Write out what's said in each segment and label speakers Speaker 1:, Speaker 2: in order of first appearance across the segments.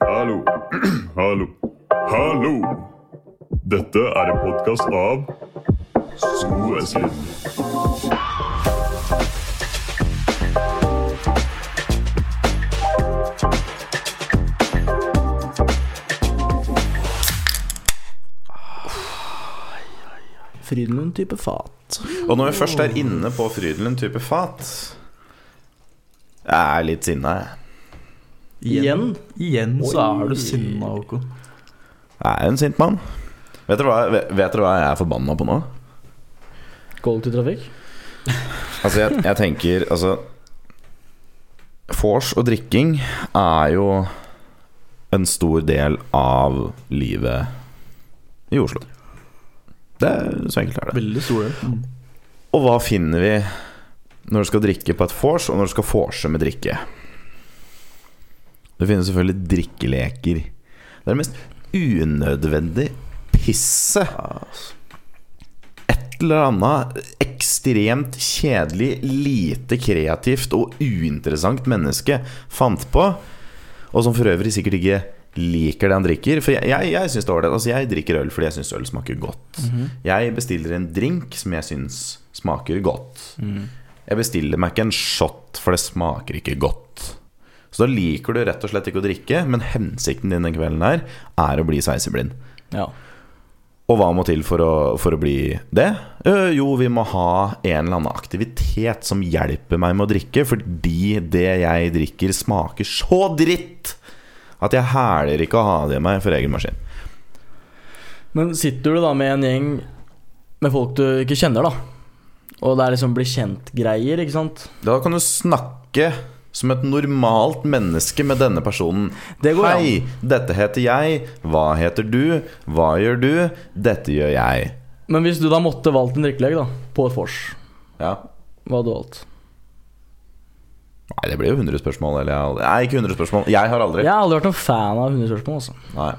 Speaker 1: Hallo. Hallo. Hallo. Dette er en podkast av Skoeslind.
Speaker 2: Frydenlund-type fat.
Speaker 3: Og når vi først er inne på Frydenlund type fat Jeg er litt sinna, jeg.
Speaker 2: Igjen.
Speaker 4: Igjen så er du sinna, Håkon.
Speaker 3: Jeg er en sint mann. Vet dere hva, vet dere hva jeg er forbanna på nå?
Speaker 2: Kollektivtrafikk.
Speaker 3: Altså, jeg, jeg tenker Altså Vors og drikking er jo en stor del av livet i Oslo. Det er Så enkelt er det.
Speaker 4: Veldig stor del. Mm.
Speaker 3: Og hva finner vi når du skal drikke på et vors, og når du skal vorse med drikke? Det finnes selvfølgelig drikkeleker. Det er det mest unødvendige pisset. Et eller annet ekstremt kjedelig, lite kreativt og uinteressant menneske fant på, og som for øvrig sikkert ikke liker det han drikker. For jeg, jeg, jeg syns det er ålreit. Altså, jeg drikker øl fordi jeg syns øl smaker godt. Jeg bestiller en drink som jeg syns smaker godt. Jeg bestiller meg ikke en shot, for det smaker ikke godt. Så da liker du rett og slett ikke å drikke, men hensikten din den kvelden her er å bli sveiseblind.
Speaker 2: Ja.
Speaker 3: Og hva må til for å, for å bli det? Øh, Jo, vi må ha en eller annen aktivitet som hjelper meg med å drikke, fordi det jeg drikker smaker så dritt at jeg hæler ikke å ha det i meg for egen maskin.
Speaker 2: Men sitter du da med en gjeng med folk du ikke kjenner, da. Og det er liksom bli kjent-greier, ikke sant.
Speaker 3: Da kan du snakke som et normalt menneske med denne personen.
Speaker 2: Det går
Speaker 3: Hei, dette heter jeg. Hva heter du? Hva gjør du? Dette gjør jeg.
Speaker 2: Men hvis du da måtte valgt en drikkelek, da, på et vors,
Speaker 3: Ja.
Speaker 2: hva hadde du valgt?
Speaker 3: Nei, det blir jo 100 spørsmål. Eller jeg har aldri... Nei, ikke 100 spørsmål. Jeg har aldri.
Speaker 2: Jeg har aldri vært noen fan av hundespørsmål, altså.
Speaker 3: Nei.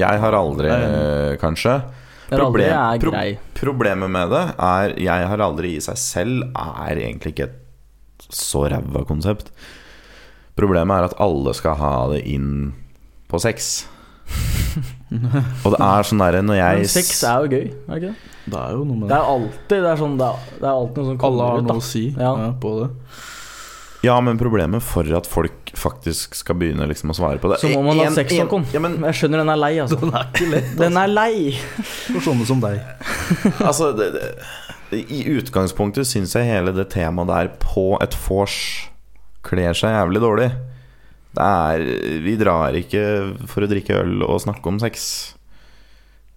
Speaker 3: Jeg har aldri, eh, kanskje.
Speaker 2: Jeg har aldri
Speaker 3: Problem-
Speaker 2: er
Speaker 3: pro-
Speaker 2: grei.
Speaker 3: problemet med det er Jeg har aldri i seg selv er egentlig ikke et så ræva konsept. Problemet er at alle skal ha det inn på sex. Og det er sånn derre når jeg
Speaker 2: Men sex er jo gøy, er det ikke det?
Speaker 4: Det er jo noe med
Speaker 2: Det
Speaker 4: det.
Speaker 2: er jo alltid det er sånn, det er, det er alltid noe som
Speaker 4: Alle
Speaker 2: kommer
Speaker 4: har
Speaker 2: ut,
Speaker 4: noe
Speaker 2: da.
Speaker 4: å si ja.
Speaker 2: Ja.
Speaker 4: på det.
Speaker 3: Ja, men problemet for at folk faktisk skal begynne liksom å svare på det
Speaker 2: Så må man ha
Speaker 3: En-
Speaker 2: sex,
Speaker 3: en-
Speaker 2: Håkon.
Speaker 3: Ja, men
Speaker 2: Jeg skjønner den er lei, altså.
Speaker 4: Den er ikke lett
Speaker 2: Den er lei!
Speaker 4: for sånne som deg.
Speaker 3: altså det, det, I utgangspunktet syns jeg hele det temaet der på et vors kler seg jævlig dårlig. Det er Vi drar ikke for å drikke øl og snakke om sex.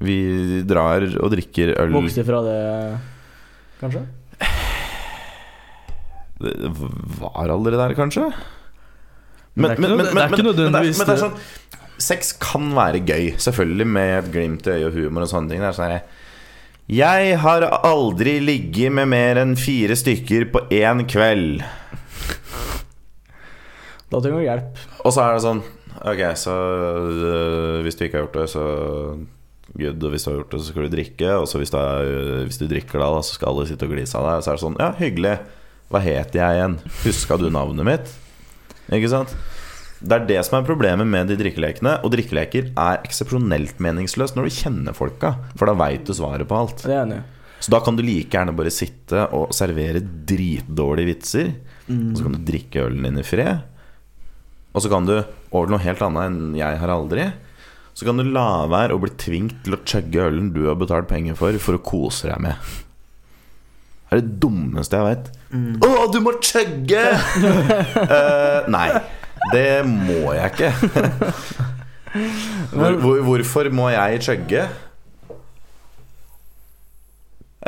Speaker 3: Vi drar og drikker øl
Speaker 2: Vokste ifra det, kanskje?
Speaker 3: Det var aldri der, kanskje? Men,
Speaker 4: det er ikke nød- det er ikke nødvendigvis
Speaker 3: men, det er
Speaker 4: det.
Speaker 3: sånn Sex kan være gøy, selvfølgelig, med et glimt i øyet og humor og sånne ting. Det er sånn her, jeg har aldri ligget med mer enn fire stykker på én kveld.
Speaker 2: Da trenger du hjelp.
Speaker 3: Og så er det sånn Ok, så øh, hvis du ikke har gjort det, så good. Og hvis du har gjort det, så skal du drikke. Og så hvis du, er, øh, hvis du drikker da, da, så skal alle sitte og glise av deg. Og så er det sånn Ja, hyggelig. Hva het jeg igjen? Huska du navnet mitt? Ikke sant? Det er det som er problemet med de drikkelekene. Og drikkeleker er eksepsjonelt meningsløst når du kjenner folka, for da veit du svaret på alt.
Speaker 2: Det er jeg enig i.
Speaker 3: Så da kan du like gjerne bare sitte og servere dritdårlige vitser. Og så kan du drikke ølen din i fred. Og så kan du over til noe helt annet enn jeg har aldri. Så kan du la være å bli tvunget til å chugge ølen du har betalt penger for, for å kose deg med. Det er det dummeste jeg veit. Å, du må chugge! Eh, nei, det må jeg ikke. hvor, hvor, hvorfor må jeg chugge?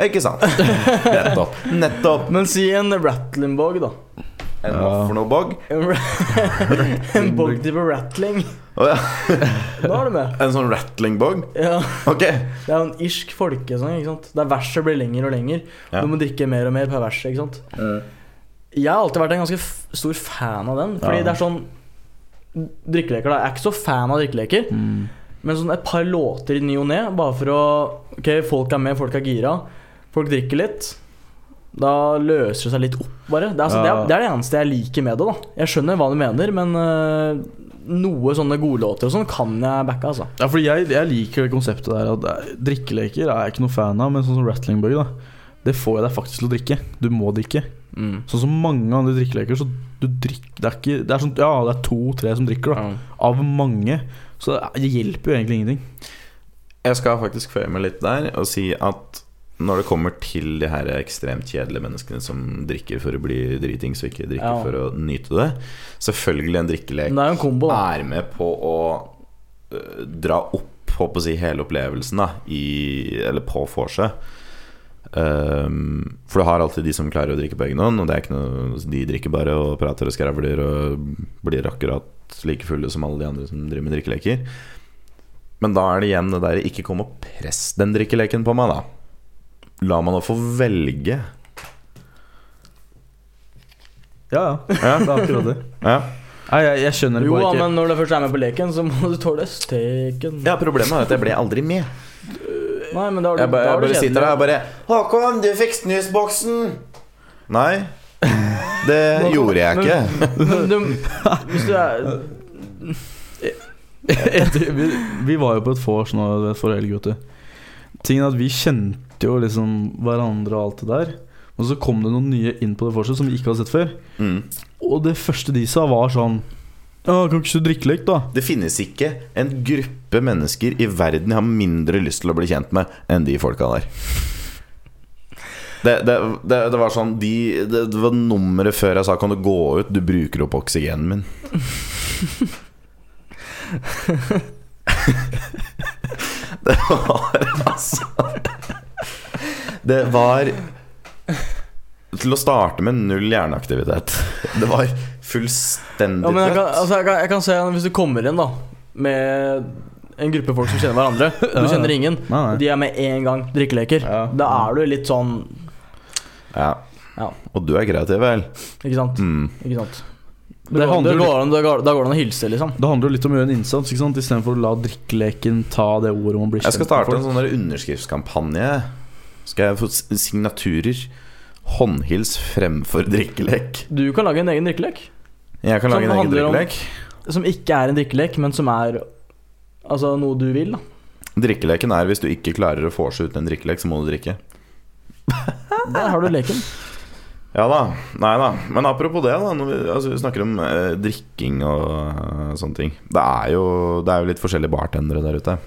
Speaker 3: Ikke sant? Nettopp. Nettopp.
Speaker 2: Men si en Rattlinbog, da.
Speaker 3: En hva for noe, Bog?
Speaker 2: En, ra- en bog type rattling.
Speaker 3: Å, ja.
Speaker 2: Da er du med.
Speaker 3: En sånn rattling-bog?
Speaker 2: Ja,
Speaker 3: Ok.
Speaker 2: Det er jo en irsk folkesang ikke sant? der verset blir lenger og lenger.
Speaker 3: Ja.
Speaker 2: Du må drikke mer og mer per vers. ikke sant? Jeg har alltid vært en ganske f stor fan av den. Fordi
Speaker 4: Ja.
Speaker 2: det er sånn Drikkeleker, da. Jeg er ikke så fan av drikkeleker.
Speaker 4: Mm.
Speaker 2: Men sånn et par låter i ny og ne, bare for å Ok, folk er med, folk er gira. Folk drikker litt. Da løser det seg litt opp, bare. Det er, altså, det,
Speaker 4: Ja.
Speaker 2: er, det er det eneste jeg liker med det. da Jeg skjønner hva du mener, men eh, noe sånne godlåter og sånn kan jeg backe, altså.
Speaker 4: Ja, fordi jeg, jeg liker det konseptet der at det er- drikkeleker er jeg ikke noe fan av, men sånn som wrestlingbug, da. Det får jeg deg faktisk til å drikke. Du må drikke.
Speaker 2: Mm.
Speaker 4: Sånn som mange andre drikkeleker, så du drikker Det er ikke Det er sånn Ja, det er to-tre som drikker, da.
Speaker 2: Ja.
Speaker 4: Av mange. Så eh, det hjelper jo egentlig ingenting.
Speaker 3: Jeg skal faktisk føye meg litt der og si at når det kommer til de her ekstremt kjedelige menneskene som drikker for å bli dritings og ikke drikker
Speaker 2: Ja.
Speaker 3: for å nyte det Selvfølgelig en drikkelek
Speaker 2: Men det er jo en kombo, da.
Speaker 3: er med på å øh, dra opp håper jeg, å si, hele opplevelsen da, i, eller på vorset. Ehm, for du har alltid de som klarer å drikke på egen hånd, og det er ikke noe, altså, de drikker bare og prater og skravler og blir akkurat like fulle som alle de andre som driver med drikkeleker. Men da er det igjen det der ikke kom og press den drikkeleken på meg, da. La meg nå få velge.
Speaker 4: Ja, ja.
Speaker 3: Ja,
Speaker 4: Det er akkurat det.
Speaker 3: ja.
Speaker 4: Nei, jeg, jeg skjønner det
Speaker 2: Jo,
Speaker 4: bare
Speaker 2: ja,
Speaker 4: ikke.
Speaker 2: men når du først er med på leken, så må du tåle steken.
Speaker 3: ja problemet er at jeg ble aldri med.
Speaker 2: Nei, men da er du,
Speaker 3: Jeg bare,
Speaker 2: da
Speaker 3: jeg
Speaker 2: er du
Speaker 3: bare sitter
Speaker 2: kjedelig.
Speaker 3: der og bare 'Håkon, du fikk snusboksen!' Nei, det gjorde jeg ikke.
Speaker 2: Men du, hvis du er
Speaker 4: Etter, vi, vi var jo på et vors nå du vet, for hele gutter. Tingen er at vi kjente jo liksom hverandre og alt det der. Og så kom det noen nye inn på det vorset som vi ikke hadde sett før.
Speaker 3: Mm.
Speaker 4: Og det første de sa, var sånn Ja, kan ikke du drikke litt, da?
Speaker 3: Det finnes ikke en gruppe mennesker i verden jeg har mindre lyst til å bli kjent med enn de folka der. Det, det, det, det var sånn de, det, det var nummeret før jeg sa 'Kan du gå ut? Du bruker opp oksygenen min'. det var altså Det var til å starte med null hjerneaktivitet. Det var fullstendig
Speaker 2: Ja, men jeg kan,
Speaker 3: dødt.
Speaker 2: altså, jeg, kan, jeg kan se Hvis du kommer inn da med en gruppe folk som kjenner hverandre
Speaker 4: Ja,
Speaker 2: Du
Speaker 4: ja.
Speaker 2: kjenner ingen,
Speaker 4: Nei,
Speaker 2: og
Speaker 4: nei.
Speaker 2: de er med én gang drikkeleker.
Speaker 4: Ja.
Speaker 2: Da er du litt sånn
Speaker 3: Ja.
Speaker 2: Ja.
Speaker 3: Og du er kreativ, vel?
Speaker 2: Ikke sant?
Speaker 3: Mm.
Speaker 2: Ikke sant?
Speaker 4: Det
Speaker 2: Det
Speaker 4: handler
Speaker 2: handler,
Speaker 4: jo
Speaker 2: det går, an- det går, da går det an å hilse, liksom.
Speaker 4: Det handler jo litt om å gjøre en innsats, ikke sant? istedenfor å la drikkeleken ta det ordet man blir
Speaker 3: Jeg
Speaker 4: kjent
Speaker 3: skal starte en
Speaker 4: med folk.
Speaker 3: sånn der underskriftskampanje. Skal jeg få s- signaturer? Håndhils fremfor drikkelek.
Speaker 2: Du kan lage en egen drikkelek.
Speaker 3: Jeg kan lage
Speaker 2: Som
Speaker 3: en egen
Speaker 2: handler om-
Speaker 3: drikkelek.
Speaker 2: Som ikke er en drikkelek, men som er altså noe du vil. da
Speaker 3: Drikkeleken er hvis du ikke klarer å vorse ut en drikkelek, så må du drikke.
Speaker 2: Der har du leken.
Speaker 3: Ja da. Nei da. Men apropos det, da. Når vi, altså, vi snakker om eh, drikking og eh, sånne ting. Det er, jo, det er jo litt forskjellige bartendere der ute.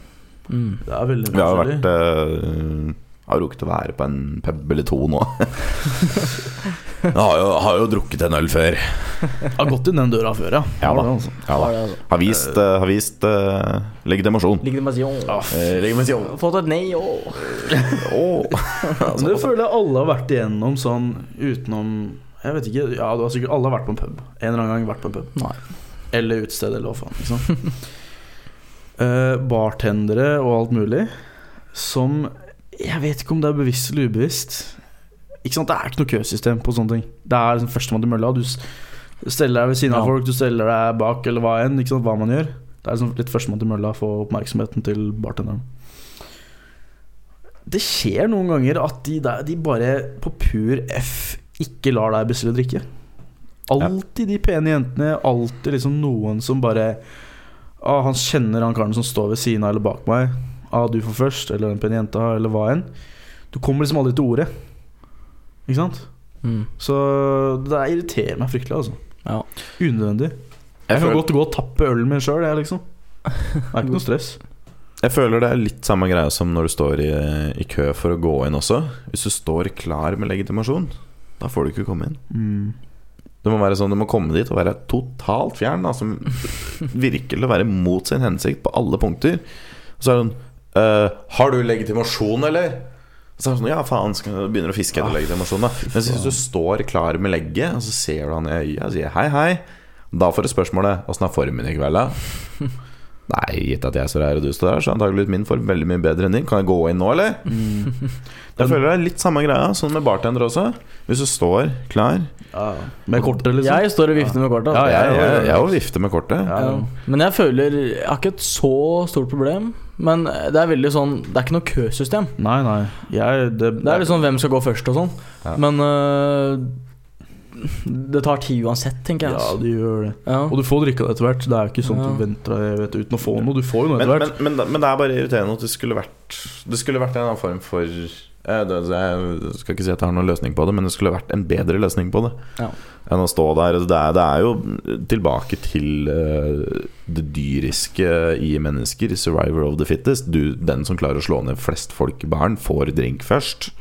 Speaker 2: Mm.
Speaker 4: Det er veldig
Speaker 3: Vi har jo
Speaker 4: forskjellig.
Speaker 3: vært eh, Har rukket å være på en pub eller to nå. Jeg har jo, har jo drukket en øl før.
Speaker 4: Jeg har gått inn den døra før, ja.
Speaker 3: eh, Ja da.
Speaker 4: Altså.
Speaker 3: Ja da.
Speaker 2: Har det, altså.
Speaker 3: Har vist, eh, har vist eh, legitimasjon.
Speaker 2: Ligger det med å si åh.
Speaker 3: Eh, legitimasjon.
Speaker 2: Fått et nei, åh.
Speaker 3: Åh.
Speaker 4: Men det føler jeg alle har vært igjennom sånn utenom Jeg vet ikke, ja, du har sikkert alle har vært på en pub. En eller annen gang vært på en pub.
Speaker 2: Nei.
Speaker 4: Eller utested, eller hva faen. Liksom. Eh, bartendere og alt mulig som Jeg vet ikke om det er bevisst eller ubevisst. Ikke sant, Det er ikke noe køsystem på sånne ting. Det er liksom førstemann til mølla. Du s- steller deg ved siden av
Speaker 2: Ja.
Speaker 4: folk, du steller deg bak, eller hva enn. Ikke sant, hva man gjør. Det er liksom litt førstemann til mølla, få oppmerksomheten til bartenderen. Det skjer noen ganger at de, der, de bare på pur F ikke lar deg bestille drikke. Alltid de pene jentene, alltid liksom noen som bare ah, Han kjenner han karen som står ved siden av eller bak meg. Ah, du får først, eller den pene jenta, eller hva enn. Du kommer liksom aldri til ordet. Ikke sant?
Speaker 2: Mm.
Speaker 4: Så det irriterer meg fryktelig, altså.
Speaker 2: Ja.
Speaker 4: Unødvendig. Jeg
Speaker 3: Jeg
Speaker 4: kan
Speaker 3: føler,
Speaker 4: godt gå og tappe ølen min sjøl, jeg, liksom. Det er ikke noe stress.
Speaker 3: jeg føler det er litt samme greia som når du står i, i kø for å gå inn også. Hvis du står klar med legitimasjon, da får du ikke komme inn.
Speaker 4: Mm.
Speaker 3: Det må være sånn, du må komme dit og være totalt fjern. Altså, virkelig å være mot sin hensikt på alle punkter. Og så er det sånn «Eh, Har du legitimasjon, eller? Og så er det sånn, Ja, faen, skal jeg begynner å fiske
Speaker 4: Ah,
Speaker 3: etter legitimasjon, da. Men hvis du står klar med legget, og så ser du han i øyet og sier hei, hei, da får du spørsmålet 'Åssen er formen i kveld', da? Nei, gitt at jeg står her og du står her, så er antakeligvis min form veldig mye bedre enn din. Kan jeg gå inn nå, eller?
Speaker 4: Mm.
Speaker 3: Jeg føler det er litt samme greia, sånn med bartender også. Hvis du står klar
Speaker 4: Med kortet, liksom.
Speaker 2: Jeg står og vifter med kortet.
Speaker 4: Ja,
Speaker 2: Altså.
Speaker 3: Jeg
Speaker 4: ja, ja, ja.
Speaker 3: er jo vifte med kortet.
Speaker 4: Ja.
Speaker 2: Ja. Men jeg føler Jeg har ikke et så stort problem. Men det er veldig sånn Det er ikke noe køsystem.
Speaker 4: Nei, nei. Jeg, det, liksom
Speaker 2: Det er litt sånn hvem skal gå først og sånn.
Speaker 3: Ja.
Speaker 2: Men øh, det tar tid uansett, tenker jeg.
Speaker 4: Ja,
Speaker 2: Altså.
Speaker 4: du gjør det.
Speaker 2: Ja.
Speaker 4: Og du får drikka det etter hvert. Det er jo ikke sånn at
Speaker 2: Ja.
Speaker 4: du venter deg vet, uten å få noe. Du får jo noe
Speaker 3: Men,
Speaker 4: etter hvert.
Speaker 3: men, men, men det er bare irriterende at det skulle vært Det skulle vært en annen form for eh, det- Jeg skal ikke si at jeg har noen løsning på det, men det skulle vært en bedre løsning på det
Speaker 2: Ja.
Speaker 3: enn å stå der. Altså, Det er, det er jo tilbake til eh, det dyriske i mennesker. Survivor of the fittest. Du, den som klarer å slå ned flest folk i baren, får drink først.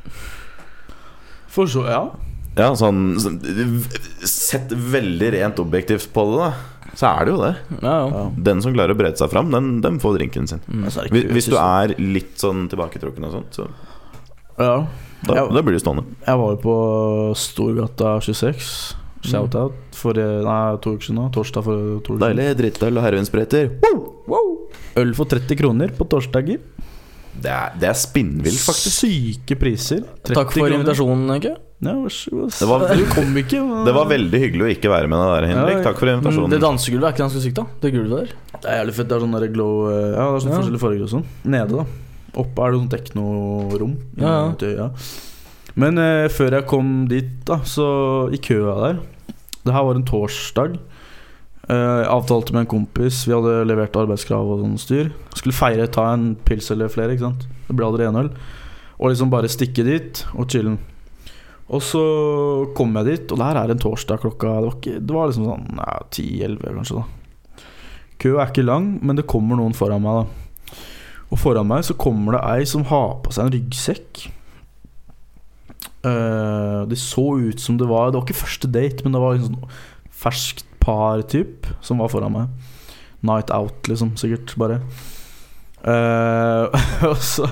Speaker 4: For så, ja.
Speaker 3: Ja, sånn sånn, v- Sett veldig rent objektivt på det, da. Så er det jo det.
Speaker 2: Ja, ja. Mm.
Speaker 4: ja. Altså,
Speaker 3: Den som klarer å brede seg fram, den, den får drinken sin.
Speaker 4: Men så er det
Speaker 3: Hvis,
Speaker 4: ikke-
Speaker 3: hvis du er litt sånn tilbaketrukken og sånt, så
Speaker 4: liksom. Ja.
Speaker 3: da,
Speaker 4: Ja.
Speaker 3: da blir du stående.
Speaker 4: Jeg var jo på Storgata 26. Shout-out for eh, Nei, to uker siden. da. Torsdag for to uker
Speaker 3: Mm.
Speaker 4: siden.
Speaker 3: Deilig drittøl og heroinsprøyter.
Speaker 4: Øl for 30 kroner på torsdager.
Speaker 3: Det er, det er spinnvilt, faktisk.
Speaker 4: Syke priser. 30
Speaker 2: Takk for
Speaker 4: kroner.
Speaker 2: invitasjonen, Mm, Henke.
Speaker 4: Ja, vær så god.
Speaker 3: Det var-
Speaker 4: du kom ikke. men-
Speaker 3: Det var veldig hyggelig å ikke være med deg der, Henrik.
Speaker 4: Ja, Mm,
Speaker 3: Takk for
Speaker 2: Men Det
Speaker 3: invitasjonen.
Speaker 2: dansegulvet er ikke ganske sykt, da? Det gulvet der?
Speaker 4: Det er jævlig fett. Det er sånn der glow eh, Ja, det er sånn
Speaker 2: Ja.
Speaker 4: forskjellige farger og sånn. Nede, da. Oppe er det sånn teknorom.
Speaker 2: Ja, ja.
Speaker 4: ute i øya. Men eh, før jeg kom dit, da, så i køa der Det her var en torsdag. Eh, Jeg avtalte med en kompis. Vi hadde levert arbeidskrav og sånn styr. Skulle feire, ta en pils eller flere. ikke sant? Det ble aldri enøl. Og liksom bare stikke dit og chille'n. Og så kom jeg dit, og det her er en torsdag klokka Det var, ikke, det var liksom sånn ja, 10-11 kanskje, da. Køa er ikke lang, men det kommer noen foran meg, da. Og foran meg så kommer det ei som har på seg en ryggsekk. Eh, det så ut som det var Det var ikke første date, men det var liksom sånn ferskt par-typ som var foran meg. Night out, liksom, sikkert, bare. Eh, og så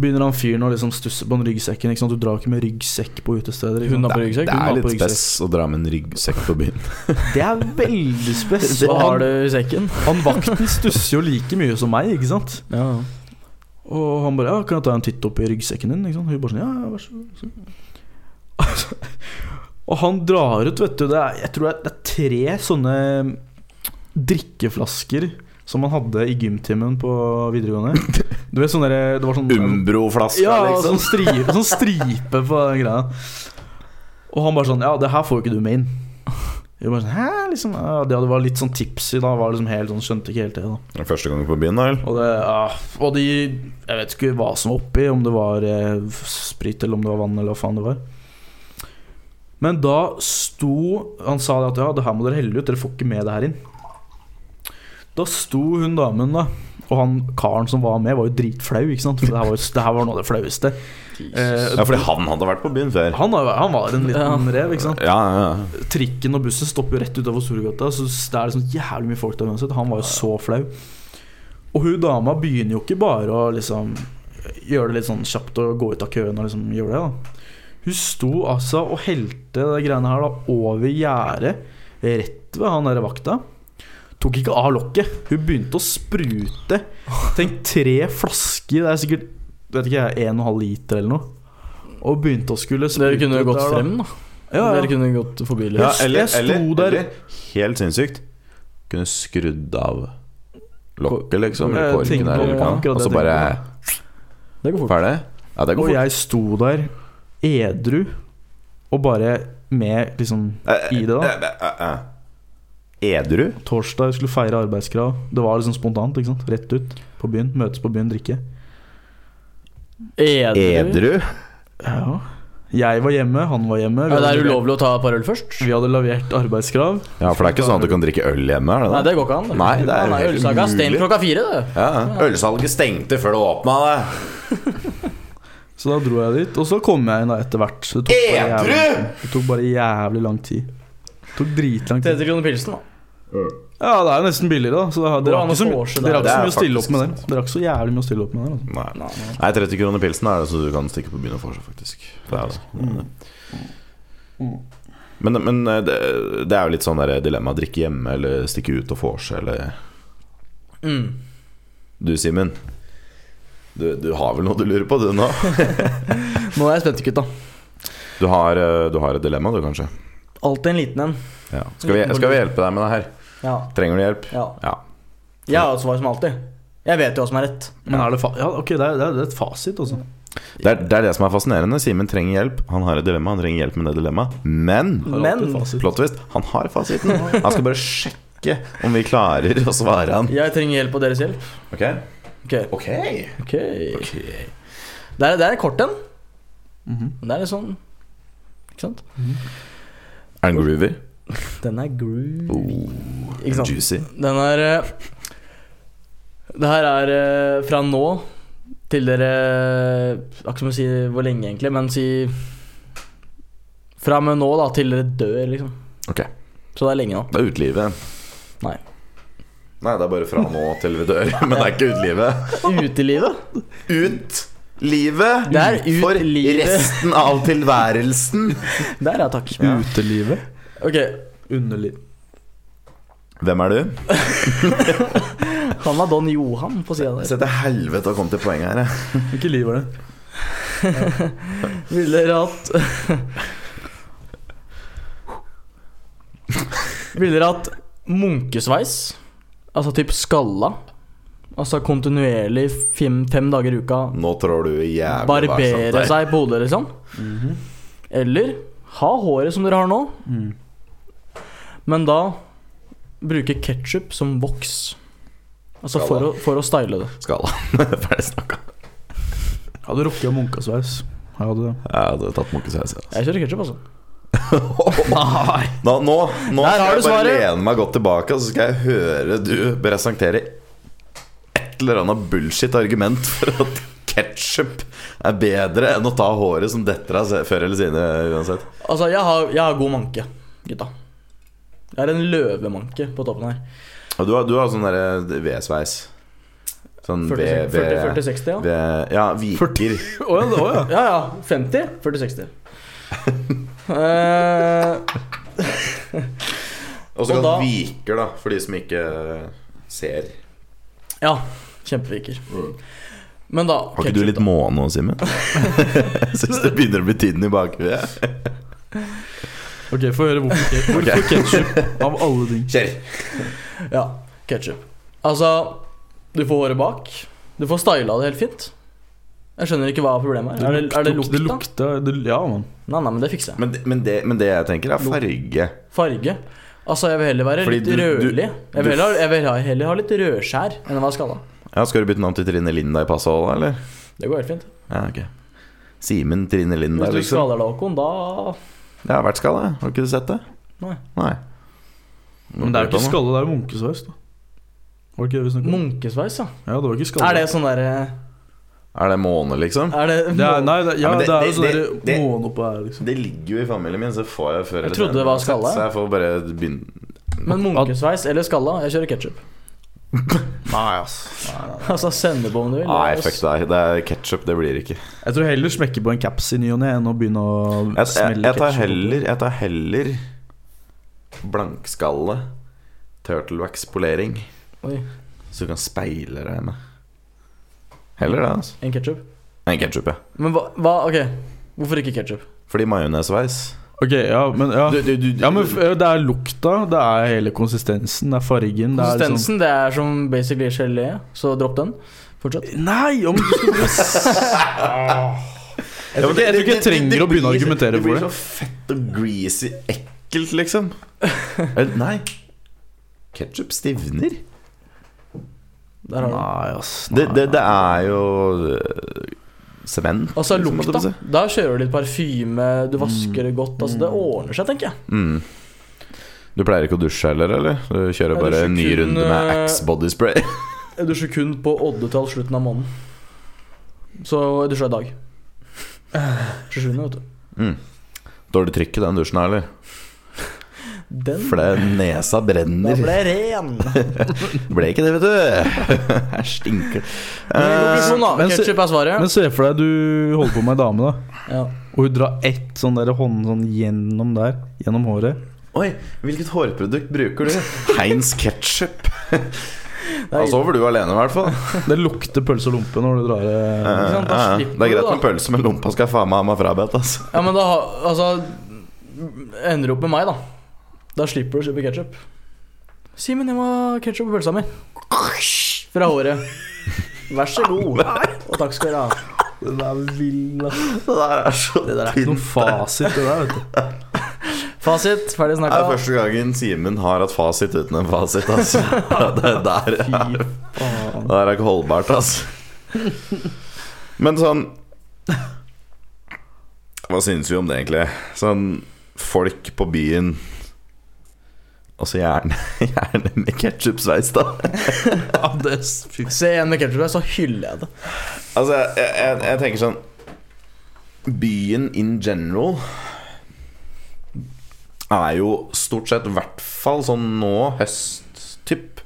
Speaker 4: begynner han fyren å liksom stusse på den ryggsekken. Ikke sant? Du drar ikke med ryggsekk på utesteder. ikke sant?
Speaker 2: Hun har på ryggsekk.
Speaker 3: Det
Speaker 4: hun
Speaker 3: er
Speaker 4: var på
Speaker 3: litt
Speaker 4: ryggsekk.
Speaker 3: spess å dra med en ryggsekk på byen.
Speaker 4: Det er veldig spes.
Speaker 2: Hva
Speaker 4: Og
Speaker 2: har
Speaker 4: han,
Speaker 2: du i sekken?
Speaker 4: han vakten stusser jo like mye som meg, ikke sant?
Speaker 2: Ja.
Speaker 4: Og han bare ja, 'Kan jeg ta en titt opp i ryggsekken din?' Ikke sant? Hun bare sånn 'Ja, ja, vær så god'. Så- Altså, Og han drar ut, vet du. Det er, jeg tror det er- det er tre sånne drikkeflasker som han hadde i gymtimen på videregående. Du vet sånne der, Det var sånn
Speaker 3: Umbro-flaska,
Speaker 4: ja,
Speaker 3: Um, liksom.
Speaker 4: sånn stripe, sånn stripe på den greia. Og han bare sånn Ja, det her får jo ikke du med inn. Jeg bare sånn, Hæ? Liksom, ja, det var litt sånn tipsy da. Var liksom helt sånn, skjønte ikke helt det. da
Speaker 3: Det er Første gang på byen, da vel?
Speaker 4: Og, det, ja, og de Jeg vet ikke hva som var oppi, om det var eh, sprit eller om det var vann eller hva faen det var. Men da sto Han sa det at ja, det her må dere helle ut, dere får ikke med det her inn. Da sto hun damen, da. Og han karen som var med, var jo dritflau. ikke sant? For det her var, jo, det her var noe av det flaueste. Eh,
Speaker 3: Ja, fordi han hadde vært på byen før.
Speaker 4: han, har- han var en liten rev, ikke sant?
Speaker 3: Ja, ja, ja.
Speaker 4: Trikken og bussen stopper jo rett utenfor Storgata, så det er liksom jævlig mye folk der uansett. Han var jo så flau. Og hun dama begynner jo ikke bare å liksom gjøre det litt sånn kjapt og gå ut av køen og liksom gjøre det, da. Hun sto altså og helte de greiene her da over gjerdet, rett ved han derre vakta. Tok ikke av lokket. Hun begynte å sprute. Tenk tre flasker, det er sikkert vet ikke jeg, 1,5 liter eller noe. Og begynte å skulle
Speaker 2: Så dere kunne
Speaker 4: ut
Speaker 2: jo gått
Speaker 4: der, da.
Speaker 2: frem, da.
Speaker 4: Ja, ja.
Speaker 2: Dere kunne gått forbi liksom. litt.
Speaker 3: ja
Speaker 4: Jeg-
Speaker 3: eller,
Speaker 4: jeg sto
Speaker 3: eller,
Speaker 4: der-
Speaker 3: eller Helt sinnssykt. Kunne skrudd av lokket, liksom. Eller
Speaker 4: Jeg
Speaker 3: korken
Speaker 4: tenkte
Speaker 3: der, eller
Speaker 4: på
Speaker 3: hva.
Speaker 4: akkurat det
Speaker 3: Og så
Speaker 4: jeg
Speaker 3: bare
Speaker 4: tenkte
Speaker 2: Det går fort.
Speaker 3: Ferdig? Ja, det går
Speaker 4: Og
Speaker 3: fort.
Speaker 4: jeg sto der edru og bare med liksom i det, da.
Speaker 3: Eh, eh, eh, eh. Edru?
Speaker 4: Torsdag skulle feire arbeidskrav. Det var liksom spontant. ikke sant? Rett ut på byen. Møtes på byen, drikke.
Speaker 2: Edru.
Speaker 3: Edru?
Speaker 4: Ja. Jeg var hjemme, han var hjemme.
Speaker 2: Ja, det er
Speaker 4: hadde-
Speaker 2: ulovlig å ta et par øl først?
Speaker 4: Vi hadde levert arbeidskrav.
Speaker 3: Ja, for det er ikke sånn at du kan drikke øl hjemme? Er det
Speaker 2: Nei,
Speaker 3: det?
Speaker 2: det går ikke an.
Speaker 3: Nei, det er
Speaker 2: Han
Speaker 3: helt
Speaker 2: ølsaga. Stein
Speaker 3: umulig.
Speaker 2: klokka fire, det.
Speaker 3: Ja, ja. Ølsalget stengte før det åpna. det.
Speaker 4: Så da dro jeg dit. Og så kom jeg inn da etter hvert. Så Det tok bare jævlig, det tok bare jævlig lang tid. Det tok dritlang tid.
Speaker 2: 30 kroner pilsen, da.
Speaker 4: Ja, det er jo nesten billigere, da. Så det,
Speaker 2: Går
Speaker 4: dere
Speaker 2: an å
Speaker 4: har ikke så,
Speaker 2: forse det.
Speaker 4: mye- dere har
Speaker 3: Det
Speaker 4: ikke så
Speaker 3: er
Speaker 4: mye å stille
Speaker 3: faktisk
Speaker 4: opp med den. Dere har ikke så jævlig mye å stille opp med den. Altså.
Speaker 3: Nei. Nei, 30 kroner pilsen er det så du kan stikke på byen og få seg, faktisk. Det er
Speaker 2: Mm.
Speaker 3: det. Men, men eh, det, det er jo litt sånn der dilemma drikke hjemme eller stikke ut og få seg, eller
Speaker 2: Mm.
Speaker 3: Du, Simen. Du, du har vel noe du lurer på, du nå?
Speaker 2: Nå er jeg spent, gutta.
Speaker 3: Du har, eh, du har et dilemma, du, kanskje?
Speaker 2: Alltid en liten en.
Speaker 3: Ja. Skal, vi, skal vi hjelpe deg med det her?
Speaker 2: Ja.
Speaker 3: Trenger du hjelp?
Speaker 2: ja.
Speaker 3: Ja.
Speaker 2: Jeg har svar som alltid. Jeg vet jo hva som er rett.
Speaker 4: Men er det fa ja, ok, det er, det er et fasit, altså.
Speaker 3: Det er, det er det som er fascinerende. Simen trenger hjelp. Han har et dilemma, han trenger hjelp med det dilemmaet. Men
Speaker 4: Har
Speaker 2: Men-
Speaker 4: alltid fasit.
Speaker 3: plot twist, han har fasiten. Han skal bare sjekke om vi klarer å svare han.
Speaker 2: Jeg trenger hjelp av deres hjelp.
Speaker 3: Ok?
Speaker 2: Ok.
Speaker 3: Ok.
Speaker 2: Ok Det er, det er en kort en.
Speaker 4: Mhm.
Speaker 2: Det er litt sånn Ikke sant?
Speaker 3: Er den groover?
Speaker 2: Den er groovy. ikke sant?
Speaker 3: Juicy.
Speaker 2: Den er eh, Det her er eh, fra nå til dere Jeg Akkurat som å si hvor lenge, egentlig, men si Fra og med nå da til dere dør, liksom.
Speaker 3: Ok.
Speaker 2: Så det er lenge nå.
Speaker 3: Det er utelivet.
Speaker 2: Nei.
Speaker 3: Nei, det er bare fra nå til vi dør. Men det er ikke utelivet.
Speaker 2: Utelivet?
Speaker 3: Utlivet!
Speaker 2: Det er
Speaker 3: For
Speaker 2: utelivet.
Speaker 3: resten av tilværelsen.
Speaker 2: Der, ja takk.
Speaker 4: Utelivet.
Speaker 2: Ok,
Speaker 4: Underliv.
Speaker 3: Hvem er du?
Speaker 2: han var Don Johan på sida der.
Speaker 3: Se til helvete å komme til poenget her. jeg.
Speaker 4: Hvilket liv er det?
Speaker 2: Ville dere hatt Ville dere hatt munkesveis? Altså typ skalla? Altså kontinuerlig fem, fem dager i uka
Speaker 3: Nå trår du jævlig
Speaker 2: barbere
Speaker 3: varsomt Mhm. her.
Speaker 2: seg på hodet, liksom? Eller ha håret som dere har nå,
Speaker 4: Mm.
Speaker 2: men da bruke ketsjup som voks. Altså for å, for å style det.
Speaker 3: Skala. Ferdig snakka.
Speaker 4: Jeg hadde rukket av munkasveis. Jeg hadde det.
Speaker 3: Jeg hadde tatt munkesveis. ja.
Speaker 2: Jeg kjører ketsjup, altså.
Speaker 4: Nei!
Speaker 3: Nå, nå, nå
Speaker 2: Der
Speaker 3: skal
Speaker 2: har
Speaker 3: jeg
Speaker 2: du
Speaker 3: bare
Speaker 2: svaret.
Speaker 3: lene meg godt tilbake, og så skal jeg høre du presentere et eller annet bullshit argument for at ketsjup er bedre enn å ta håret som detter av se- før eller siden uansett.
Speaker 2: Altså, jeg har, jeg har god manke, gutta. Jeg har en løvemanke på toppen her.
Speaker 3: Og du har, du har sånn derre V-sveis. Sånn V... V-
Speaker 2: 40-60, ja.
Speaker 3: V- ja, viker.
Speaker 4: Å ja, det var ja.
Speaker 2: Ja, ja. 50, 40-60. Eh,
Speaker 3: Og
Speaker 2: Og
Speaker 3: så kan
Speaker 2: da-
Speaker 3: viker, da, for de som ikke eh, ser.
Speaker 2: ja. Kjempeviker. Men da
Speaker 3: Har ikke du litt måne nå, Simen? Jeg syns det begynner å bli tynn i bakhuet.
Speaker 4: Ok, få høre hvorfor, hvorfor ketchup av alle ting.
Speaker 3: Kjør!
Speaker 2: Ja, ketsjup. Altså, du får håret bak. Du får styla det helt fint. Jeg skjønner ikke hva problemet er. Er det, er det
Speaker 4: luk-
Speaker 2: lukta?
Speaker 4: Det lukta det, Ja, mann.
Speaker 2: Nei, nei, men det fikser jeg.
Speaker 3: Men, det- men, det, men det jeg tenker, er farge.
Speaker 2: Farge. Altså, jeg vil heller være
Speaker 3: Fordi
Speaker 2: litt
Speaker 3: du- du-
Speaker 2: rødlig. Jeg vil
Speaker 3: du-
Speaker 2: heller, jeg vil heller ha litt rødskjær enn å være skalla.
Speaker 3: Ja, Skal du bytte navn til Trine Linda i passeholdet, eller?
Speaker 2: Det går helt fint.
Speaker 3: Ja, ok Simen Trine Linda,
Speaker 2: Hvis du
Speaker 3: liksom.
Speaker 2: skaller deg, Håkon, da
Speaker 3: Jeg har vært skalla, jeg. har ikke du sett det?
Speaker 2: Nei.
Speaker 3: Nei.
Speaker 4: Men det er jo ikke skalle, det er jo munkesveis, da. Var det ikke det vi snakket om?
Speaker 2: Munkesveis, ja.
Speaker 4: Ja, det var ikke skalle.
Speaker 2: Er det sånn derre
Speaker 3: Er det måne, liksom?
Speaker 2: Er det
Speaker 4: Det er, nei, det,
Speaker 3: Ja,
Speaker 4: ja,
Speaker 3: men det-
Speaker 4: det, er jo
Speaker 3: det-
Speaker 4: sånn
Speaker 3: det-
Speaker 4: der
Speaker 3: det-
Speaker 4: måne oppå her, liksom.
Speaker 3: Det ligger jo i familien min, så får jeg før eller
Speaker 2: trodde det
Speaker 3: senere
Speaker 2: var
Speaker 3: uansett,
Speaker 2: skalla, ja.
Speaker 3: Så jeg får bare begynne
Speaker 2: Men munkesveis eller skalla? Jeg kjører ketsjup.
Speaker 3: Nei, ass.
Speaker 2: Altså sennep om du vil.
Speaker 3: Nei, fuck deg. Det er ketsjup, det blir ikke.
Speaker 4: Jeg tror heller smekke på en caps i ny og ne enn å begynne å
Speaker 3: Jeg, jeg,
Speaker 4: smelle
Speaker 3: jeg tar
Speaker 4: ketchup opp.
Speaker 3: heller Jeg tar heller blankskalle turtlewax-polering,
Speaker 2: Oi,
Speaker 3: så du kan speile deg med. Heller det, altså.
Speaker 2: en ketsjup.
Speaker 3: Enn ketsjup, ja.
Speaker 2: Men hva, hva Ok, hvorfor ikke ketsjup?
Speaker 3: Fordi majonesveis
Speaker 4: Ok, ja, men ja.
Speaker 3: Du- du- du-
Speaker 4: ja, men f- det er lukta, det er hele konsistensen, det er fargen det er liksom-
Speaker 2: Konsistensen det er som basically gelé, så dropp den. Fortsett.
Speaker 4: Nei, om du skulle bli s- Jeg
Speaker 3: Ja,
Speaker 4: tror
Speaker 3: men
Speaker 4: ikke jeg, tror ikke jeg
Speaker 3: det- det-
Speaker 4: trenger
Speaker 3: det
Speaker 4: å begynne å
Speaker 3: blir så-
Speaker 4: argumentere
Speaker 3: Det
Speaker 4: for
Speaker 3: blir
Speaker 4: det.
Speaker 3: så fett og greasy ekkelt, liksom. Eller, nei. Ketchup stivner.
Speaker 2: Der har du den.
Speaker 4: Nei, ass. Nei.
Speaker 3: Det, det, det er jo øh, sement.
Speaker 2: Altså
Speaker 3: liksom, holdt jeg på
Speaker 2: lukta.
Speaker 3: å si.
Speaker 2: Da kjører du litt parfyme, du vasker det godt. Altså Det ordner seg, tenker jeg.
Speaker 3: Mm. Du pleier ikke å dusje heller, eller? Du kjører
Speaker 2: Jeg
Speaker 3: bare
Speaker 2: dusjer
Speaker 3: en ny
Speaker 2: kun,
Speaker 3: runde med
Speaker 4: eh,
Speaker 2: øh,
Speaker 3: Axe body spray.
Speaker 2: Jeg dusjer kun på oddetall slutten av måneden. Så jeg dusja i dag. 27. vet du.
Speaker 3: Mm. Dårlig trykk i den dusjen her, eller?
Speaker 2: Den
Speaker 3: For det nesa
Speaker 2: Da
Speaker 3: brenner.
Speaker 2: ble jeg ren.
Speaker 3: Det ble ikke det, vet du. Her stinker det. Eh,
Speaker 2: Konklusjon, da.
Speaker 4: men så-
Speaker 2: Ketchup er svaret.
Speaker 4: Men se for deg du holder på med ei dame, da.
Speaker 2: Ja.
Speaker 4: Og hun drar ett sånn der hånd sånn gjennom der, gjennom håret.
Speaker 3: Oi, hvilket hårprodukt bruker du? Heinz ketchup.
Speaker 2: Det
Speaker 3: Da
Speaker 2: er,
Speaker 3: sover du alene, i hvert fall.
Speaker 4: Det lukter pølse og lompe når du drar eh,
Speaker 2: Ikke sant, da
Speaker 3: Ja, ja.
Speaker 2: slipper
Speaker 3: Det er
Speaker 2: du,
Speaker 3: greit
Speaker 2: da.
Speaker 3: med pølse, men lompa skal faen meg ha meg frabedt. Altså.
Speaker 2: ja, men da har- Altså Ender du opp med meg, da. Da slipper du å kjøpe ketsjup. Simen, jeg må ha ketsjup på pølsa mi. Fra håret. Vær så god. Og takk skal dere ha.
Speaker 4: Den er vill, ass.
Speaker 3: Det der er så
Speaker 4: Det der er ikke noen fasit, det der, vet du.
Speaker 2: Fasit, ferdig
Speaker 3: Det er
Speaker 2: snakka.
Speaker 3: første gangen Simen har hatt fasit uten en fasit. Altså. Det der er,
Speaker 4: Fy faen.
Speaker 3: det der er ikke holdbart, altså. Men sånn Hva syns vi om det, egentlig? Sånn folk på byen Altså gjerne, gjerne med ketsjupsveis, da.
Speaker 4: Ja, det er s- fy
Speaker 2: Se en med ketsjup, så hyller jeg det.
Speaker 3: Altså, jeg, jeg, jeg tenker sånn Byen in general er jo stort sett, i hvert fall sånn nå, høst-typ,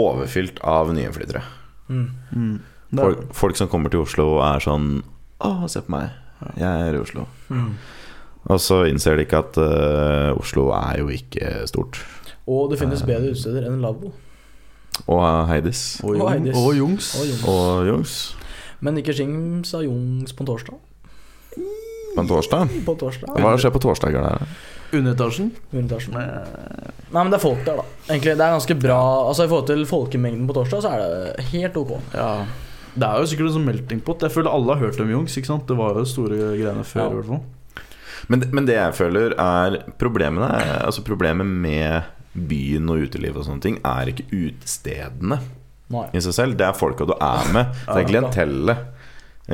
Speaker 3: overfylt av nyinnflyttere.
Speaker 4: Det er-
Speaker 3: Folk, folk som kommer til Oslo og er sånn Å, se på meg, jeg er i Oslo.
Speaker 2: Mm.
Speaker 3: Og så innser de ikke at eh, Oslo er jo ikke stort.
Speaker 2: Og det finnes bedre utesteder enn lavvo.
Speaker 3: Og Heidis.
Speaker 4: Og
Speaker 2: Og
Speaker 4: Jung-
Speaker 2: Heidis.
Speaker 4: og Jungs.
Speaker 2: Og Jungs.
Speaker 3: Og Jungs.
Speaker 2: Men ikke Skings sa Jungs på torsdag.
Speaker 3: På en torsdag.
Speaker 2: På torsdag.
Speaker 3: Hva skjer på torsdager der?
Speaker 4: Underetasjen.
Speaker 2: Underetasjen. Nei, men det er folk der, da. Egentlig, det er ganske bra Altså I forhold til folkemengden på torsdag, så er det helt ok.
Speaker 4: Ja. Det er jo sikkert en sånn melting pot. Jeg føler alle har hørt om Jungs. ikke sant? Det var jo store greiene før.
Speaker 2: Ja.
Speaker 4: i hvert fall
Speaker 3: Men, men det jeg føler er problemene er- Altså problemet med byen og uteliv og sånne ting Er ikke utestedene
Speaker 2: Nei.
Speaker 3: i seg selv Det er folka du er med Det er klientellet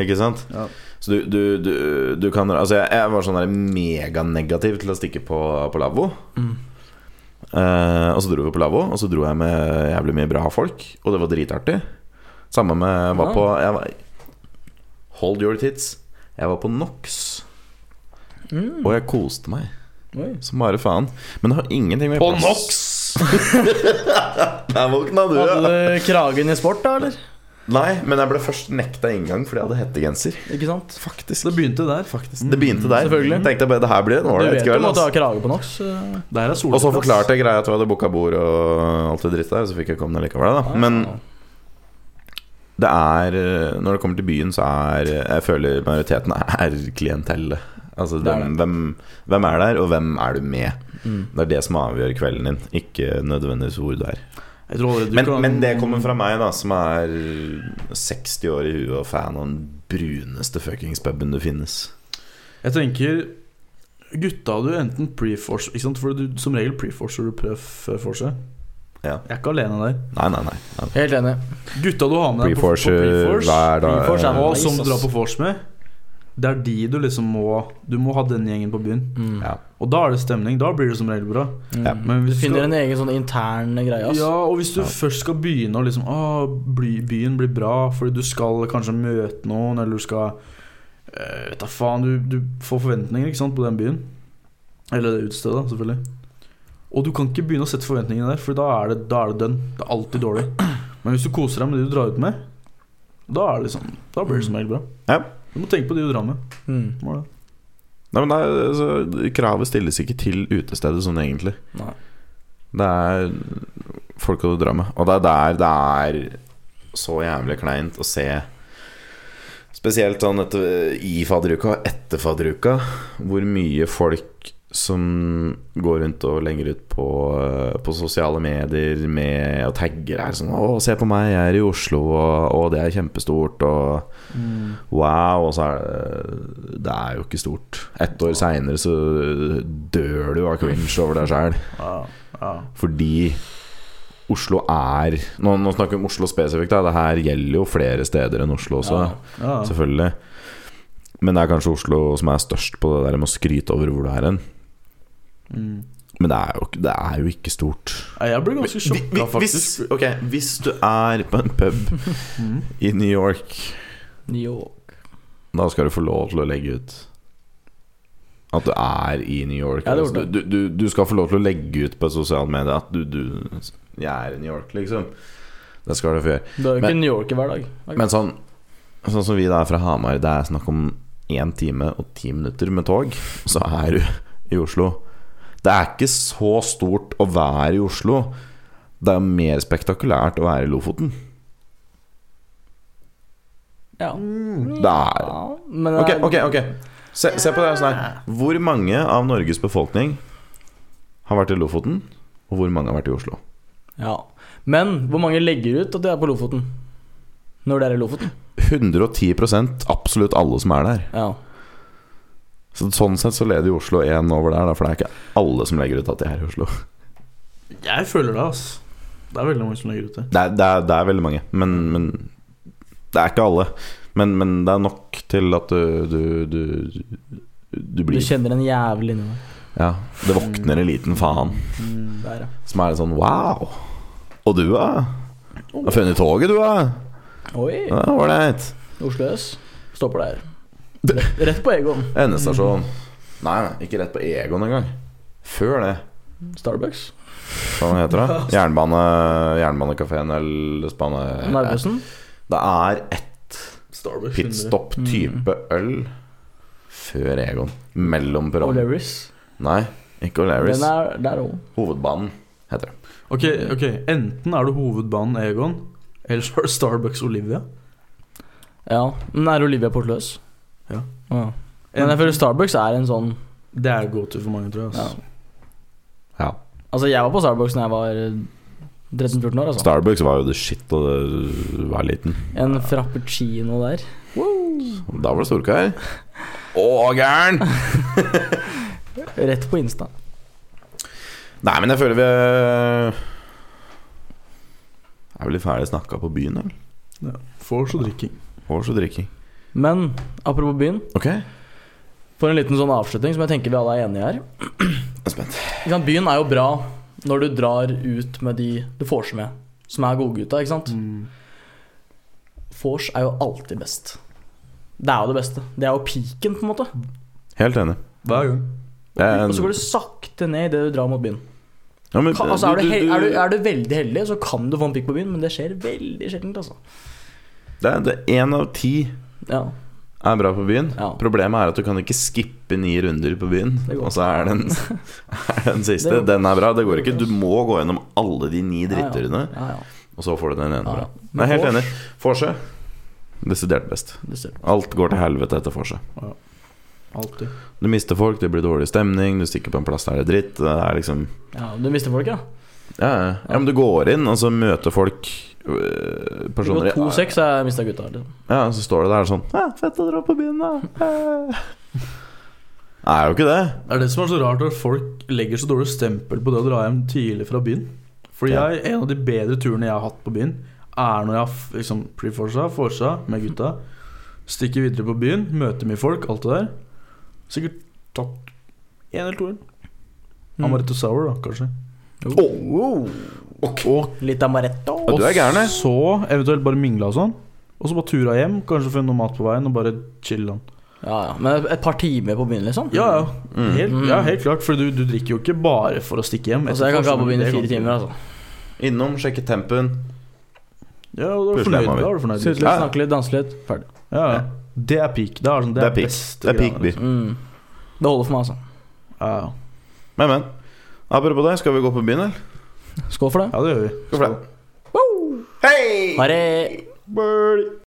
Speaker 3: Ikke sant?
Speaker 4: Ja.
Speaker 3: Så du, du, du, du kan Altså jeg, jeg var sånn der meganegativ til å stikke på, på lavvo Eh, Og så dro vi på lavvo Og så dro jeg med jævlig mye bra folk Og det var dritartig Samme med jeg var på jeg var, Hold your tits Jeg var på Nox Og jeg koste meg
Speaker 2: Mm, Oi.
Speaker 3: som bare faen. Men det har ingenting med plass Der våkna du, ja.
Speaker 2: Hadde du kragen i sport, da, eller?
Speaker 3: Nei, men jeg ble først nekta inngang fordi jeg hadde hettegenser.
Speaker 2: Ikke sant?
Speaker 3: Faktisk.
Speaker 4: Det begynte der.
Speaker 3: Det begynte der.
Speaker 2: Selvfølgelig.
Speaker 3: Tenkte jeg bare det her blir en
Speaker 2: Du
Speaker 3: ålreit
Speaker 2: vet jo
Speaker 3: kveld.
Speaker 2: om at du
Speaker 3: ass.
Speaker 2: har krage på NOx. eh,
Speaker 4: Der er
Speaker 3: Og så
Speaker 4: solplass.
Speaker 3: forklarte jeg greia at du hadde booka bord og alt det dritt der, så fikk jeg komme ned likevel,
Speaker 2: Ah.
Speaker 3: da. Men det er eh, Når det kommer til byen, så er Jeg føler majoriteten er klientellet. Altså
Speaker 2: Det Mm. er
Speaker 3: hvem, hvem, hvem er der, og hvem er du med? Det er det som avgjør kvelden din, ikke nødvendigvis hvor du er.
Speaker 4: Jeg tror allerede du
Speaker 3: Men,
Speaker 4: kan-
Speaker 3: men det kommer fra meg, da, som er 60 år i huet og fan av den bruneste fuckings puben det finnes.
Speaker 4: Jeg tenker Gutta hadde jo enten pre-force Ikke sant, for du, som regel pre-force du prøv force
Speaker 3: Ja.
Speaker 4: Jeg er ikke alene der
Speaker 3: Nei, nei, nei. nei.
Speaker 2: Helt enig.
Speaker 4: Gutta du har med deg på, på
Speaker 3: Pre-force uh,
Speaker 4: pre-force
Speaker 3: hver
Speaker 2: Pre-force
Speaker 3: dag.
Speaker 2: er
Speaker 4: Og
Speaker 2: nice,
Speaker 4: som du drar
Speaker 2: ass.
Speaker 4: på force med Det er de du liksom må Du må ha den gjengen på byen
Speaker 2: Mm.
Speaker 3: Ja.
Speaker 4: Og da er det stemning, da blir det som regel bra
Speaker 2: Mm.
Speaker 3: Ja.
Speaker 4: Men
Speaker 2: Du
Speaker 4: hvis
Speaker 2: finner en
Speaker 4: skal-
Speaker 2: egen sånn intern greie, ass.
Speaker 4: Ja, og hvis du
Speaker 3: Ja.
Speaker 4: først skal begynne å liksom ah, bly, Byen blir bra fordi du skal kanskje møte noen, eller du skal eh, Vet da faen, du, du får forventninger ikke sant, på den byen. Eller det utestedet, selvfølgelig. Og du kan ikke begynne å sette forventningene der, for da er det, da er det dønn. Det er alltid dårlig. Men hvis du koser deg med de du drar ut med, da, er det liksom, da blir det som regel bra.
Speaker 3: Ja.
Speaker 4: Du må tenke på de du drar med.
Speaker 2: Mm.
Speaker 4: Må det.
Speaker 3: Nei, men det er, altså, kravet stilles ikke til utestedet sånn egentlig.
Speaker 2: Nei.
Speaker 3: Det er folka du drar med. Og det er der det er så jævlig kleint å se Spesielt sånn etter, i fadderuka og etter fadderuka, hvor mye folk som går rundt og lenger ut på, eh, på sosiale medier med og tagger her sånn 'Å, se på meg, jeg er i Oslo, og, og det er kjempestort', og Wow, og så er det Det er jo ikke stort. Ett år seinere så dør du av cringe over deg sjæl.
Speaker 4: Ja, ja.
Speaker 3: Fordi Oslo er nå, nå snakker vi om Oslo spesifikt, da. Det her gjelder jo flere steder enn Oslo også,
Speaker 2: Ja.
Speaker 4: ja.
Speaker 3: selvfølgelig. Men det er kanskje Oslo som er størst på det der med å skryte over hvor du er hen.
Speaker 4: Mm.
Speaker 3: Men det er jo, ikke- det er jo ikke stort.
Speaker 4: Nei, Jeg ble ganske
Speaker 3: Vi- vi-
Speaker 4: sjokka,
Speaker 3: Hvis,
Speaker 4: faktisk.
Speaker 3: ok, hvis du er på en pub
Speaker 4: Mm.
Speaker 3: i New York
Speaker 2: New York.
Speaker 3: Da skal du få lov til å legge ut at du er i New York.
Speaker 2: Ja, det
Speaker 3: Altså,
Speaker 2: gjorde
Speaker 3: du, du, du skal få lov til å legge ut på sosiale medier at du, du jeg er i New York, liksom. Det skal du få gjøre.
Speaker 2: Det er jo ikke
Speaker 3: Men-
Speaker 2: New York i hver dag.
Speaker 3: Men sånn, sånn som vi da er fra Hamar, det er snakk om én time og ti minutter med tog, så er du i Oslo. Det er ikke så stort å være i Oslo, Det er jo mer spektakulært å være i Lofoten.
Speaker 2: Ja.
Speaker 3: Det er
Speaker 2: Ja, men eh, det er-
Speaker 3: Ok, ok, ok Se, se på det her sånn her Hvor mange av Norges befolkning Har vært i Lofoten Og hvor mange har vært i Oslo
Speaker 2: Ja. Men hvor mange legger ut at de er på Lofoten? Når det er i Lofoten?
Speaker 3: 110% absolutt alle som er der
Speaker 2: Ja.
Speaker 3: så, Sånn sett så leder jo Oslo en over der da, For det er ikke alle som legger ut at de er i Oslo
Speaker 4: Jeg føler det, altså. Det er veldig mange som legger ut det.
Speaker 3: Det er, det er, det er veldig mange Men, men det er ikke alle men, men det er nok til at du Du, du, du
Speaker 2: Du
Speaker 3: blir
Speaker 2: kjenner en jævel inni deg.
Speaker 3: ja, Det våkner en liten faen
Speaker 4: Mm.
Speaker 2: Der, ja.
Speaker 3: Som er sånn, wow Og du da? Har funnet toget du da?
Speaker 2: Oi.
Speaker 3: Ja, ålreit.
Speaker 2: Oslo S. Stopper der. Rett, rett på Egon.
Speaker 3: Endestasjon. Nei, nei, ikke rett på Egon engang. Før det.
Speaker 2: Starbucks.
Speaker 3: Hva den heter det? Jernbane, Jernbanekafeen eller Spane...
Speaker 2: Narvesen.
Speaker 3: Det er ett
Speaker 4: Starbucks
Speaker 3: pitstop-type øl før Egon. Mellom perrong.
Speaker 2: O'Learys.
Speaker 3: Nei, ikke O'Learys.
Speaker 2: Den er der òg.
Speaker 3: Hovedbanen heter det.
Speaker 4: Ok, ok, Enten er det hovedbanen Egon, eller så er det Starbucks Olivia.
Speaker 2: Ja. Den er Olivia på Oslo S.
Speaker 4: Ja.
Speaker 2: ja. Men jeg føler Starbucks er en sånn
Speaker 4: Det er go to for mange, tror jeg.
Speaker 2: ja.
Speaker 4: Altså.
Speaker 3: Ja.
Speaker 2: Altså, jeg var på Starbucks da jeg var 13-14 år, altså.
Speaker 3: Starbucks var jo the shit da du var liten.
Speaker 2: En frappuccino der.
Speaker 3: Da var det storkar. Å, gæren!
Speaker 2: Rett på Insta.
Speaker 3: Nei, men jeg føler vi eh, Er vel litt ferdig snakka på byen, eller?
Speaker 4: Vors og drikking.
Speaker 3: Vors og drikking.
Speaker 2: Men apropos byen,
Speaker 3: Ok,
Speaker 2: for en liten sånn avslutning som jeg tenker vi alle er enige i her.
Speaker 3: jeg er spent.
Speaker 2: Ikke sant, Byen er jo bra når du drar ut med de du vors med, som er godgutta, ikke sant? Vors er jo alltid best. Det er jo det beste. Det er jo piken, på en måte.
Speaker 3: Helt enig.
Speaker 4: Hver gang.
Speaker 3: Jeg er en-
Speaker 2: Og så går du sakte ned idet du drar mot byen.
Speaker 3: Ja, men-
Speaker 2: Ka- Altså, er, du
Speaker 3: du-
Speaker 2: hel
Speaker 3: du-
Speaker 2: er, du, er du veldig heldig, så kan du få en pikk på byen, men det skjer veldig sjeldent, altså.
Speaker 3: Det er- det er én av ti
Speaker 2: Ja,
Speaker 3: er bra på byen.
Speaker 2: Ja.
Speaker 3: Problemet er at du kan ikke skippe ni runder på byen.
Speaker 2: Det går.
Speaker 3: Og så er den, er den siste.
Speaker 2: Det går.
Speaker 3: Den er bra. Det går
Speaker 2: Det går.
Speaker 3: ikke. Du må gå gjennom alle de ni drittrundene,
Speaker 2: ja, ja.
Speaker 3: og så får du den
Speaker 2: Ja,
Speaker 3: ene
Speaker 2: ja.
Speaker 3: bra.
Speaker 2: Men
Speaker 3: Jeg er helt
Speaker 2: vors-
Speaker 3: enig. Vorse desidert best.
Speaker 2: Det ser du.
Speaker 3: Alt går til helvete etter vorse.
Speaker 4: Alltid.
Speaker 3: Du mister folk, det blir dårlig stemning, du stikker på en plass der det er dritt. Det er liksom
Speaker 2: Ja, du mister folk, ja.
Speaker 3: Ja, ja. ja, men du går inn, og så møter folk øh,
Speaker 2: Det går
Speaker 3: personer i-
Speaker 2: 2-6, så jeg mista gutta. Liksom.
Speaker 3: Ja, så står det der sånn ja, Fett å dra på byen, da. Eh. Det er jo ikke det.
Speaker 4: Det er det som er så rart, at folk legger så dårlig stempel på det å dra hjem tidlig fra byen. Fordi
Speaker 3: Ja.
Speaker 4: jeg, en av de bedre turene jeg har hatt på byen, er når jeg har f- liksom pre-forsa, forsa med gutta. Stikker videre på byen, møter mye folk, alt det der. Sikkert tatt én eller to øl.
Speaker 3: Mm.
Speaker 4: Amaretto sour, da, kanskje.
Speaker 2: Oh.
Speaker 4: Og,
Speaker 2: Litt amaretto.
Speaker 3: Ja, du er gæren,
Speaker 4: og
Speaker 3: jeg.
Speaker 4: så eventuelt bare mingla og sånn. Og så bare tura hjem, kanskje finne noe mat på veien, og bare chille.
Speaker 2: Ja, ja. Men et par timer på byen, liksom?
Speaker 4: Ja, ja.
Speaker 3: mm.
Speaker 4: Helt, ja, helt klart. For du, du drikker jo ikke bare for å stikke hjem.
Speaker 2: Altså, jeg kan ikke ha på byen i
Speaker 4: Det kan
Speaker 2: fire
Speaker 4: du-
Speaker 2: timer, altså.
Speaker 3: Innom, sjekke tempen.
Speaker 4: Ja, og da er du
Speaker 3: Plutselig
Speaker 4: fornøyd.
Speaker 3: er man
Speaker 4: Da er du fornøyd.
Speaker 2: Sitte
Speaker 4: liksom.
Speaker 2: litt,
Speaker 3: Ja.
Speaker 2: snakke litt, danse litt. Ferdig.
Speaker 4: Ja, ja. Det er peak. Det er, sånn, det
Speaker 3: Det
Speaker 4: er,
Speaker 3: er peak.
Speaker 4: beste
Speaker 3: Det er peak
Speaker 4: greiene,
Speaker 3: by.
Speaker 4: liksom.
Speaker 2: Mm. Det holder for meg, altså.
Speaker 4: Ja, ja.
Speaker 3: Men, men. Apropos det, skal vi gå på byen, eller?
Speaker 2: Skål for det.
Speaker 4: ja, det gjør vi.
Speaker 3: Skal vi det? Hei!
Speaker 2: Ha det.
Speaker 3: Bird.